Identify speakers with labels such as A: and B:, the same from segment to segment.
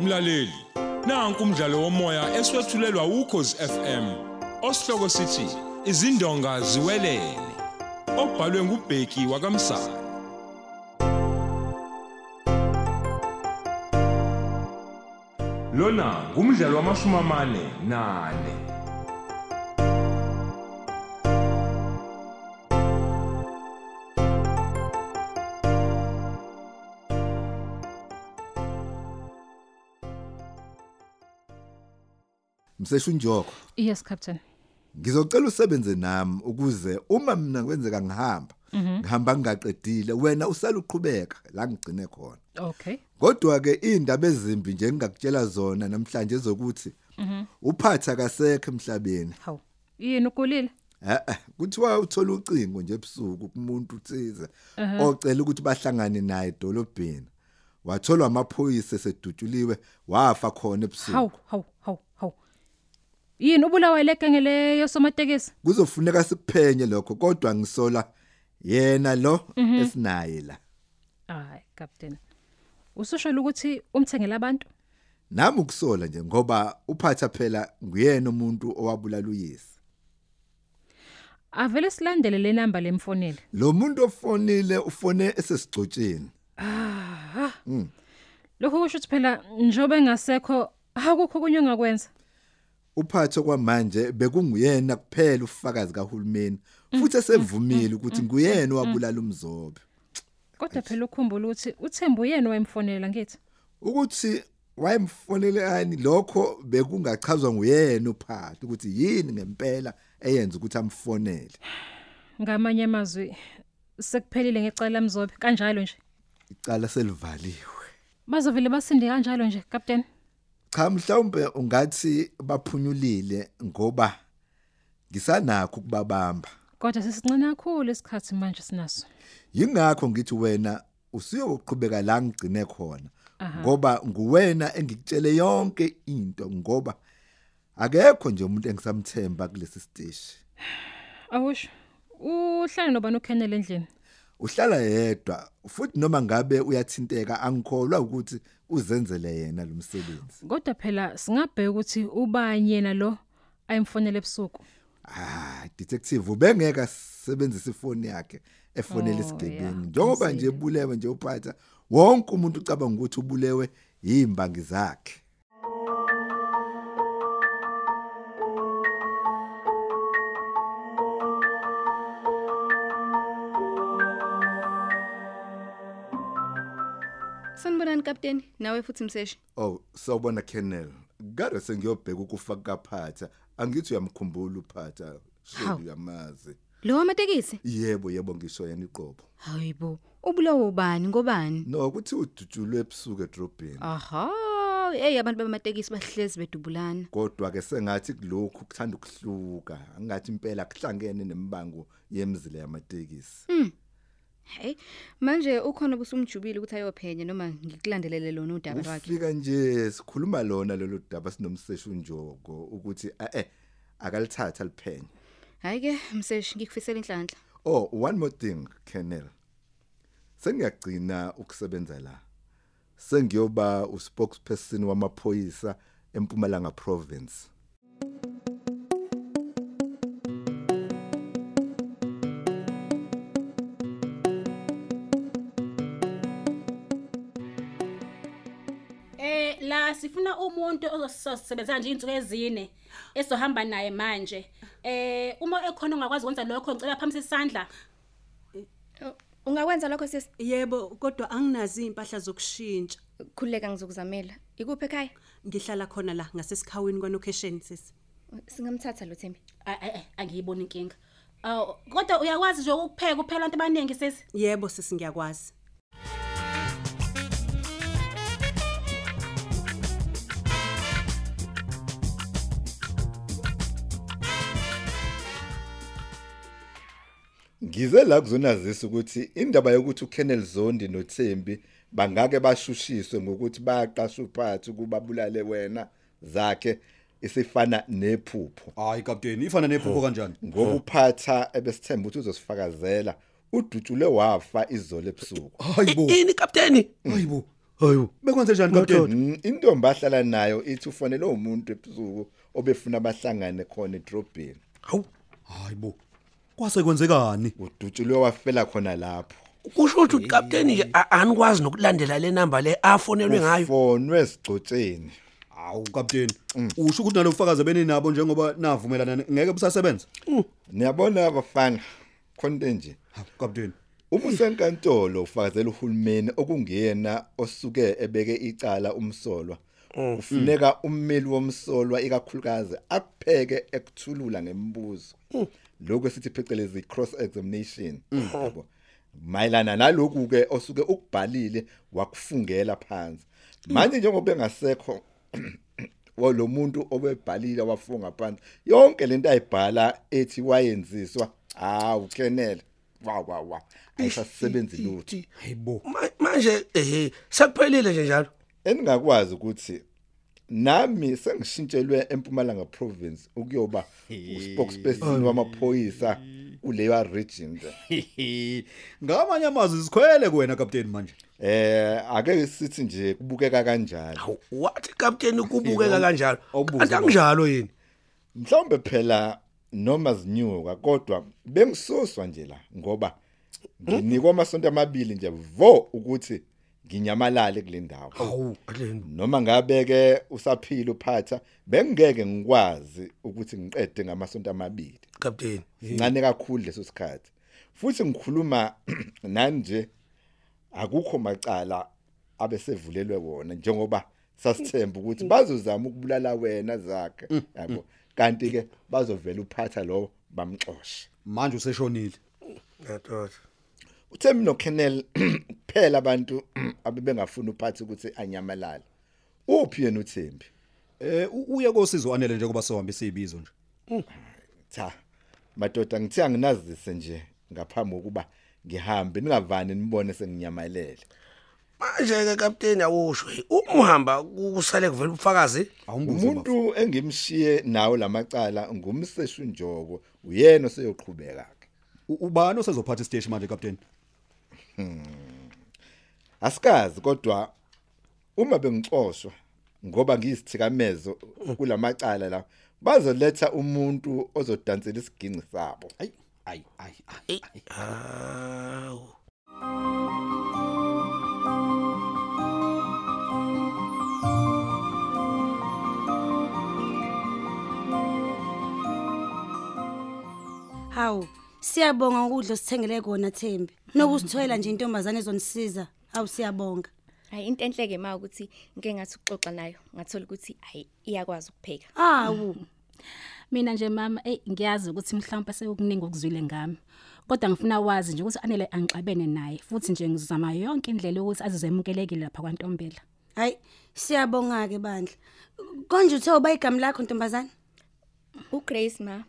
A: Mlaleli, nanku umdlalo womoya eswetshulelwa ukhozi FM. Osihloko sithi izindonga ziwelele. Obhalwe ngubheki wakamsa. Lona ngumdlalo wamashumi amane nane.
B: mseshunjoko
C: Yes captain.
B: ngizocela usebenze nami ukuze uma mina kwenzeka ngihamba ngihamba ngingaqedile wena usale uqhubeka la ngigcine khona
C: Okay.
B: kodwa ke indaba ezimbi nje ngingakutshela zona namhlanje ezokuthi uphatha kasekho emhlabeni
C: Haw. Yini ukulile?
B: eh eh, kuthiwa uthola ucingo nje ebusuku kumuntu uthize ocela ukuthi bahlangane naye edolobheni watholwa amaphoyisa sedutshuliwe wafa khona ebusuku
C: Haw, haw, haw, haw. Yini ubulawa ilekenge leyo somatekisi?
B: kuzofuneka sikuphenye lokho kodwa ngisola yena lo esinaye la
C: Hayi captain. Ususho ukuthi umthengele abantu?
B: nami ukusola nje ngoba uphatha phela nguyena umuntu owabulala uyise
C: Avele silandele le number lemfonele.
B: lo muntu ofonile ufone esesigcotsheni
C: Lokho kusho ukuthi phela njobe ngasekho akukho kunye ongakwenza.
B: uphatho kwamanje bekunguyena kuphela ufakazi kahulumeni futhi esevumile ukuthi nguyena owabulala umzobe
C: Kodwa phela ukhumbula ukuthi uThembu yena wayemfonela ngithi.
B: ukuthi wayemfonele ani lokho bekungachazwa nguyena uphatho ukuthi yini ngempela eyenza ukuthi amfonele
C: Ngamanye amazwi sekuphelile ngecala lamzobe kanjalo nje.
B: icala selivaliwe
C: Bazovele basinde kanjalo nje captain.
B: cha mhlawumbe ungathi baphunyulile ngoba ngisanakho ukubabamba
C: Kodwa sesincane kakhulu isikhathi manje sinaso.
B: yingakho ngithi wena usiyoqhubeka la ngigcine khona ngoba nguwena engikutshele yonke into ngoba akekho nje umuntu engisamthemba kulesi steshi
C: Awusho. Uhlala nobani uKennel endlini?
B: uhlala yedwa futhi noma ngabe uyathinteka angikholwa ukuthi uzenzele yena lo msebenzi
C: Kodwa phela singabheka ukuthi ubani yena lo ayimfonela ebusuku.
B: ah detective ubengeka sebenzisa ifoni yakhe efonela
C: Oh, yeah,
B: isigebengu njengoba nje ebulewe nje uphatha wonke umuntu ucabanga ukuthi ubulewe imbangi zakhe
D: sanibonani kapteni nawe futhi mseshi
B: Oh, sawubona Kennel. Ngare sengiyobheka ukufa kaPhatha. Angithi uyamkhumbula uPhatha.
D: Hawu.
B: Shedu yamazi.
D: lo wamatekisi
B: Yebo, yebo ngisho yena iqobo.
D: hayi bo ubulawo ubani ngobani
B: No, kuthi udutshulwe ebusuku edrobheni.
D: aha eyi abantu bamatekisi bahlezi bedubulana
B: Kodwa ke sengathi kulokhu kuthanda ukuhluka. Angathi impela kuhlangene nemibango yemizila yamatekisi.
D: heyi manje ukhona obusumjubile ukuthi ayophenya noma ngikulandelele lona udaba lwakhe
B: Ufika nje sikhuluma lona lelo daba sinomseshi unjoko ukuthi eh eh akalithatha liphenye.
D: hhayi-ke mseshi ngikufisela inhlanhla
B: Oh, one more thing, Kennel. Sengiyagcina ukusebenza la. Sengiyoba uspokesperson wamaphoyisa eMpumalanga Province.
E: Eh la sifuna umuntu ozosisebenza nje izinsuku ezine esohamba naye manje. Eh uma ekhona ongakwazi ukwenza lokho ngicela phambi sesandla.
F: Oh,
D: ungakwenza lokho sesi
G: Yebo, kodwa anginazi impahla zokushintsha.
D: khululeka ngizokuzamela ikuphi ekhaya
G: Ngihlala khona la ngasesikhawini kwanocation sisi.
D: singamthatha lo thembi
E: Ay ay ay, angiyiboni inkinga. Aw kodwa uyakwazi nje ukupheka uphela abantu abaningi sesi.
G: Yebo sisi ngiyakwazi.
B: Ngize la kuzonazisa ukuthi indaba yokuthi uKennel Zondi noThembi bangake bashushiswe ngokuthi bayaqasha uphathi kubabulale wena zakhe isifana nephupho.
H: hayi kapteni ifana nephupho kanjani
B: Ngoba uphatha ebesithemba ukuthi uzosifakazela udutshule wafa izolo ebusuku.
H: hayibo
I: ini kapteni hayibo
H: hayo bekwenze njani kapteni
B: Mm, intombi ahlala nayo ithi ufanele umuntu ebusuku obefuna bahlangane khona edrobheni
H: hawu hayi bo kwase kwenzekani
B: udutshulwe wafela khona lapho
I: kusho ukuthi ukapteni nje a- anikwazi nokulandela le namba le afonelwe ngayo
B: ufonwe sigcotsheni
H: hawu kapteni usho ukuthi nalofakazi beninabo njengoba navumelana ngeke busasebenza
B: niyabona abafana khona into nje
H: hawu kapteni
B: uma usenkantolo ufakazela uhulumeni okungiyena osuke ebeke icala umsolwa ufuneka ummeli womsolwa ikakhulukazi akupheke ekuthulula ngembuzo lokho esithi phecelezi cross examination yabo mayelana naloku ke osuke ukubhalile wakufungela phansi manje njengoba engasekho walo muntu obebhalile wafunga phansi yonke lento ayibhala ethi wayenziswa hawu kenele wa wa wa ayisasebenzi lutho
H: hayibo
I: Ma- manje ehe sekuphelile nje njalo
B: eningakwazi ukuthi nami sengishintshelwe empumalanga province ukuyoba uspokesperson wamaphoyisa kuleya region le
H: ngamanye amazwi sikhwele kuwena kapteni manje
B: eh ake sithi nje kubukeka kanjalo
I: wathi kapteni kubukeka kanjalo
H: awubuze
I: kanti
H: baba.
I: akunjalo yini
B: mhlawumbe phela noma zinyuka kodwa bengisuswa nje la ngoba nginikwa amasonto amabili nje vo ukuthi nginyamalale kule ndawo
I: hawu aleni
B: noma ngabe ke usaphila uphatha bengeke ngikwazi ukuthi ngiqede ngamasonto amabili
I: kapteni
B: sincane kakhulu leso sikhathi futhi ngikhuluma nani nje akukho macala abesevulelwe wona njengoba sasithemba ukuthi bazozama ukubulala wena zakhe yabo kanti ke bazovela uphatha lo bamxoshe
H: manje useshonile
I: nadoda
B: uthe mina noKennel kuphela abantu abebengafuna uphatha ukuthi anyamalale uphi yena uThembi
H: eh u- uye kosizo anele njengoba sohambe siyibizo nje
B: cha madoda ngithi anginazise nje ngaphambi kokuba ngihambe ningavani nibone senginyamalele
I: manje ke kapteni awusho hey, uma uhamba kusale kuvela ubufakazi
H: awumbuze baba.
B: umuntu engimshiye nawo lamacala ngumseshu njoko uyena oseyoqhubeka ke
H: U- ubani osezophatha isteshi manje kapteni
B: asikazi kodwa uma bengixoshwa ngoba ngiyisithikamezo kulamacala la bazoletha umuntu ozodansela isiginci sabo
H: ayi ayi ayi ayi.
I: hawu
J: hawu siyabonga ukudla osithengele kona Thembi nokusithwela nje intombazane ezonisiza awu siyabonga
F: hayi into enhle ke ma ukuthi ngeke ngathi ukuxoxa nayo ngathola ukuthi hayi iyakwazi ukupheka
J: awu
E: mina nje mama eyi ngiyazi ukuthi mhlawumpe sekukuningi okuzwile ngami kodwa ngifuna wazi nje ukuthi anele angixabene naye futhi nje ngizama yonke indlela yokuthi azizemukelekile lapha kwantombela
J: hayi siyabonga ke bandla konje uthe uba igama lakho ntombazane
F: ugrace ma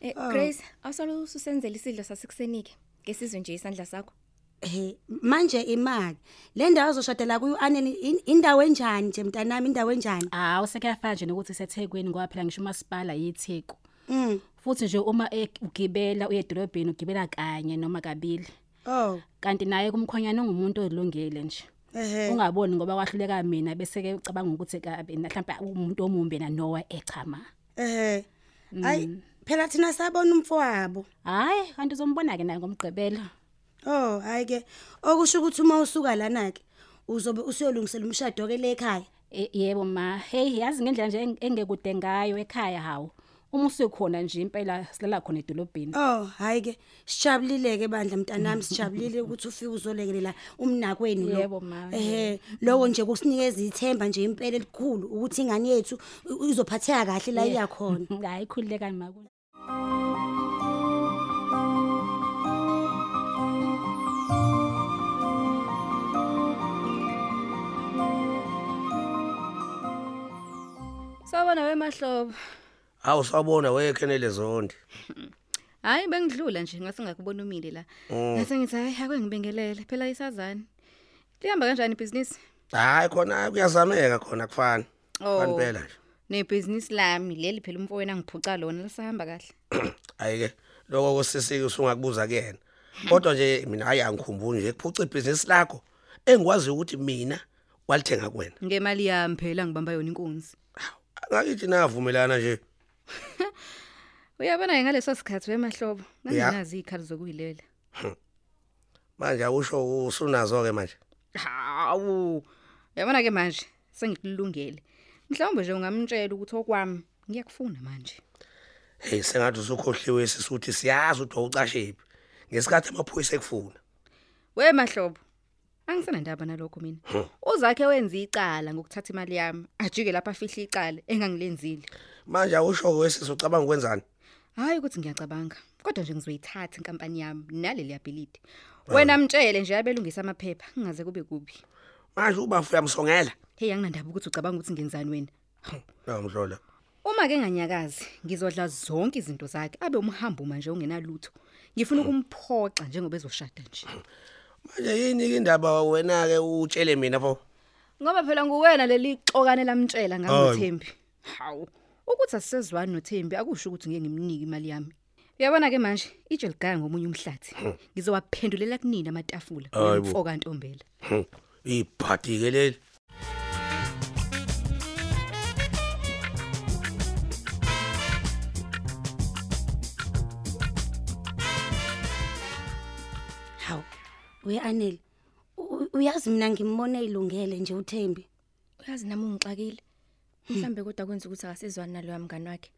F: eh, grace awusale ususenzela isidlo sasekusenike ngesizwe nje isandla sakho
J: ehe manje imali le ndawo azoshadela kuyo aneni in- indawo enjani nje mntanami indawo enjani
G: Ah.
E: hawu sekuyafana nje nokuthi isethekwini ngoba phela ngisho umasipala yitheku
J: mm
E: futhi nje uma e- ugibela uye edolobheni ugibela kanye noma kabili
J: oh
E: kanti naye kumkhonyana ungumuntu olungile nje
J: ehe
E: ungaboni ngoba kwahluleka mina bese ke ucabanga ukuthi kabe mhlawumbe umuntu omumbi na Noah echama
J: ehe
E: Mm.
J: hayi phela thina sabona umfowabo
E: hayi kanti uzombona ke naye ngomgqibelo
J: oh hayi ke okusho ukuthi uma usuka lana ke uzobe usiyolungisela umshado ke le ekhaya
E: E- yebo ma hey yazi ngendlela nje eng- engekude ngayo ekhaya hawo uma usekhona nje impela silala khona edolobheni
J: Oh, hayi ke. Sijabulile ke bandla mntanami, sijabulile ukuthi ufike uzolekelela umnakweni lo.
E: Yebo, ma.
J: Eh, lowo nje kusinikeza ithemba nje impela elikhulu ukuthi ingane yethu i- izophatheka kahle la iya khona.
E: hayi khulilekani ma ku-
D: sawubona wemahlobo
I: hawu sawubona wekhenele zonde
D: hhayi bengidlula nje ngase ngakubona umile la ngase ngithi hhayi ake ngibengelele phela isazane lihamba kanjani ibhizinisi Oh,
I: hayi khona kuyazameka khona kufani kufani phela nje
D: nebhizinisi lami leli phela umfowenu angiphuca lona lisahamba kahle
I: hayi ke lokho kusisike usungakubuza kuyena kodwa nje mina hayi angikhumbuli nje kuphuca ibhizinisi lakho engikwazi ukuthi mina walithenga kuwena
D: ngemali yami phela ngibamba yona inkunzi
I: ngakithi navumelana nje
D: uyabona ke ngaleso sikhathi wemahlobo
I: Ya.
D: nganginazi izikhali zokuyilela
I: manje awusho usunazo ke manje
D: hawu uyabona ke manje sengikulungele mhlawumbe nje ungamtshela ukuthi okwami ngiyakufuna manje
I: hey sengathi usukhohliwe sisuthi siyazi ukuthi awucashephi ngesikhathi amaphoyisa ekufuna
D: we mahlobo angisenandaba nalokho mina
I: Hmm.
D: uzakhe wenza icala ngokuthatha imali yami ajike lapha afihle icala engangilenzile
I: manje awusho wesizwe ucabanga ukwenzani
D: hayi ukuthi ngiyacabanga kodwa nje ngizoyithatha inkampani yami naleli ability wena mtshele nje abelungisa amaphepha kungaze kube kubi
I: manje ubafu uyamsongela
D: hey anginandaba ukuthi ucabanga ukuthi ngenzani wena
I: ngamhlola
D: uma ke nganyakazi ngizodla zonke izinto zakhe abe umhambo manje ongenalutho ngifuna ukumphoxa njengoba ezoshada nje
I: manje yini ke indaba wena ke utshele mina pho
D: ngoba phela nguwena leli xokane lamtshela
I: Hawu.
D: ngangothembi hawu ukuthi asisezwani nothembi akusho ukuthi ngeke ngimnike imali yami uyabona ke manje itshe ligaya ngomunye umhlathi ngizowaphendulela kunini amatafula
I: Hayi bo.
D: mfoka ntombela
I: ibhadi ke Hm, leli
J: hawu uye-anele u- uyazi mina ngimbone ilungele nje uthembi
F: uyazi nami ungixakile mhlambe kodwa kwenza ukuthi akasizwani naloya mngani wakhe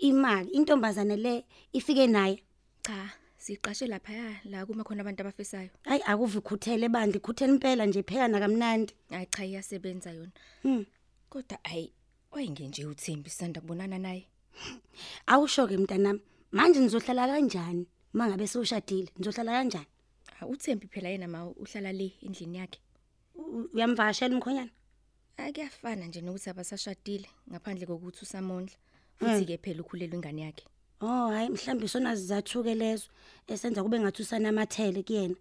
J: imali intombazane le ifike naye
F: cha siqashe lapha la kuma khona abantu abafisayo
J: hayi akuve ikhuthele bandla ikhuthele impela nje ipheka nakamnandi
F: hayi cha iyasebenza yona
J: Hmm.
F: kodwa hayi wayenge nje uthembi sanda kubonana naye
J: awusho-ke mntanami manje nizohlala kanjani uma ngabe sewushadile nizohlala kanjani
F: Ha, uthembi phela yena ma uhlala le endlini yakhe
J: U- uyamvakashela umkhonyana
F: akuyafana nje nokuthi abasashadile ngaphandle kokuthi usamondla futhi ke phela ukhulelwe ingane yakhe
J: oh hhayi mhlawumbe isona sizathuke lezo esenza kube ngathi usanamathele kuyena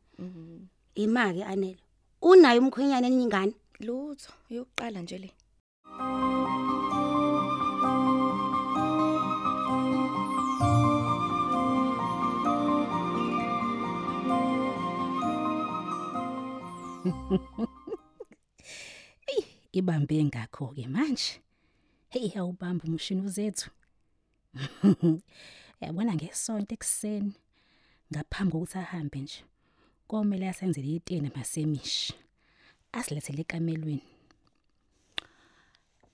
J: ima-ke anele unayo umkhwenyana enye ingane
F: lutho yokuqala nje le
E: ibambe ngakho ke manje hey awubamba umshini uzethu yabona ngesonto ekuseni ngaphambi kokuthi ahambe nje komele asenzele itene masemishi asilethele ekamelweni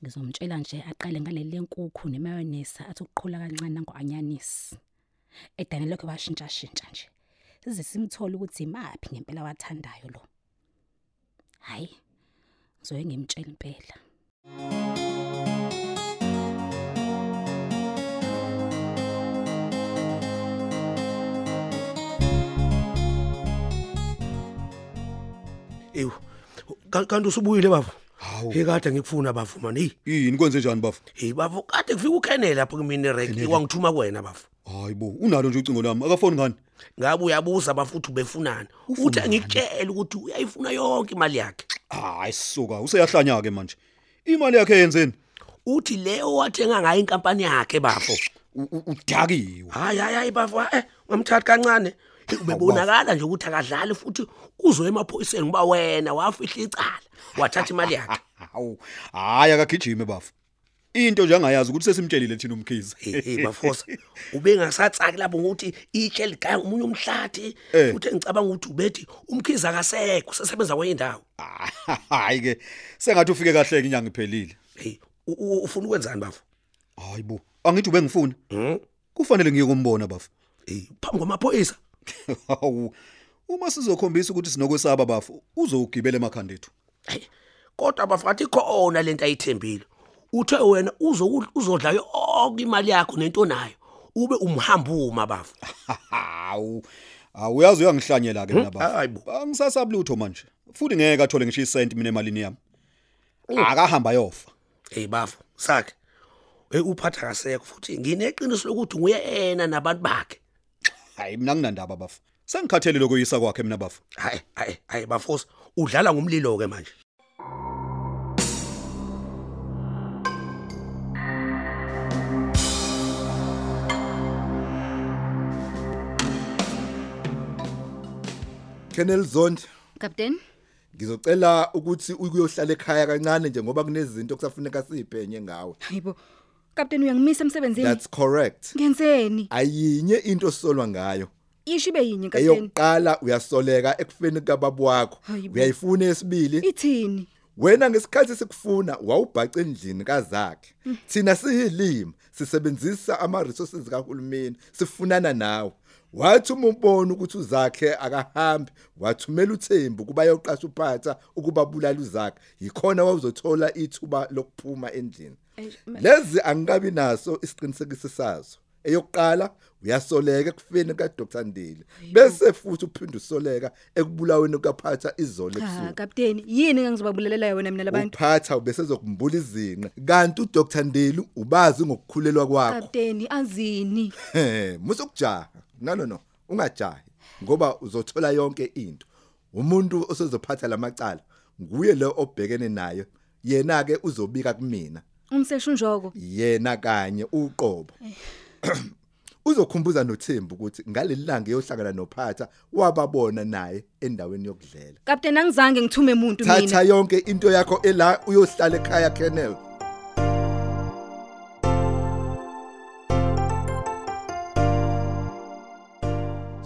E: ngizomtshela nje aqale ngaleli lenkukhu nemayonesa athi ukuqhula kancane ngo-anyanisi edane lokho washintshashintsha nje size simthole ukuthi imaphi ngempela wathandayo lo hhayi ngizoye ngimtshela impela
I: ewu ka- kanti usubuyile bafu
H: Hawu.
I: ekade ngikufuna bafu mani eyi
H: yini kwenze njani bafu
I: hey bafu kade kufika ukenele lapho kumini rek iwangithuma kuwena bafu
H: hayi bo unalo nje ucingo lami akafoni ngani
I: ngabe uyabuza bafu uthi ubefunani uthi angikutshele ukuthi uyayifuna yonke imali yakhe
H: hayi suka useyahlanya-ke manje imali yakhe yenzeni
I: uthi leyo wathenga ngayo inkampani yakhe bafu
H: U- u- udakiwe
I: hayi hayi hayi bafu eh ngamthatha kancane Eh, ubebonakala nje ukuthi akadlali futhi uzwe emaphoyiseni ngoba wena wafihla icala wathatha imali yakhe
H: hawu hhayi akagijime bafu into nje angayazi ukuthi sesimtshelile thina umkhize
I: Hey, hey bafosa ubengasatsaki lapho ngokuthi itshe ligaya umunye umhlathi
H: Eh.
I: futhi ngicabanga ukuthi ubethi umkhiza akasekho usesebenza kwenye indawo
H: hayi-ke sengathi ufike kahleke inyanga iphelile
I: hey Eh, u- u- ufuna ukwenzani bafo
H: hayi bo angithi ube ngifuna
I: Mhm.
H: kufanele ngiye kumbona bafu
I: hey Eh, phambi kwamaphoyisa
H: hawu uma sizokhombisa ukuthi sinokwesaba bafu uzowugibela emakhanda ethu
I: hey Eh, kodwa bafathi khona lento ayithembile uthe wena uzo- uzodla yonke imali yakho nento nayo ube umhambuma bafo
H: hawu awuyazi uyangihlanyela-ke mina
I: Hm? Hayi
H: bafu
I: bo.
H: angisasabulutho manje futhi ngeke athole ngisho isenti mina emalini yami
I: Oh.
H: akahamba yofa
I: hey Eh, bafo sakhe hey uphatha kasekho futhi ngineqiniso lokuthi nguyena nabantu bakhe
H: hayi mina nginandaba bafu sengikhathele lokuyisa kwakhe mina bafu
I: hayi hayi hayi bafosa udlala ngumlilo ke manje
B: Colonel Zondi
D: kapteni
B: ngizocela ukuthi ukuyohlala ekhaya kancane nje ngoba kunezinto kusafuneka sibhenye ngawe
D: hayibo kapteni uyangimisa emsebenzini
B: that's correct
D: ngenzeni
B: ayinye into solwa ngayo
D: ishibe yinye kapteni
B: eyokuqala uyasoleka ekufeni kababa wakho
D: Hayibo.
B: uyayifuna esibili
D: ithini
B: wena ngesikhathi sikufuna wawubhaca endlini kazakhe thina siyilima sisebenzisa ama resources kahulumeni sifunana nawe wathi umbona ukuthi uzakhe akahambi wathumela uThembu kuba yoqasha uphatha ukubabulala uzakhe yikhona wawuzothola ithuba lokuphuma endlini lezi angikabi naso isiqinisekiso sazo eyokuqala uyasoleka ekufeni kaDr Ndile bese futhi uphinde usoleka ekubulaweni kaphatha izolo
D: ha
B: ebusuku
D: kapteni yini engangizobabulalelela yona mina labantu
B: uphatha ubese zokumbula izinqa kanti uDr Ndili ubazi ngokukhulelwa kwakho
D: kapteni azini
B: musukujaha no no no ungajahi ngoba uzothola yonke into umuntu osezophatha lamacala nguye lo obhekene nayo yena ke uzobika kumina
D: umseshunjoko
B: yena kanye uqobo uzokhumbuza noThembu ukuthi ngalelilanga eyohlangana noPhatha wababona naye endaweni yokudlela
D: kapteni angizange ngithume umuntu
B: thatha
D: mina
B: yonke into yakho ela uyohlala ekhaya Kennel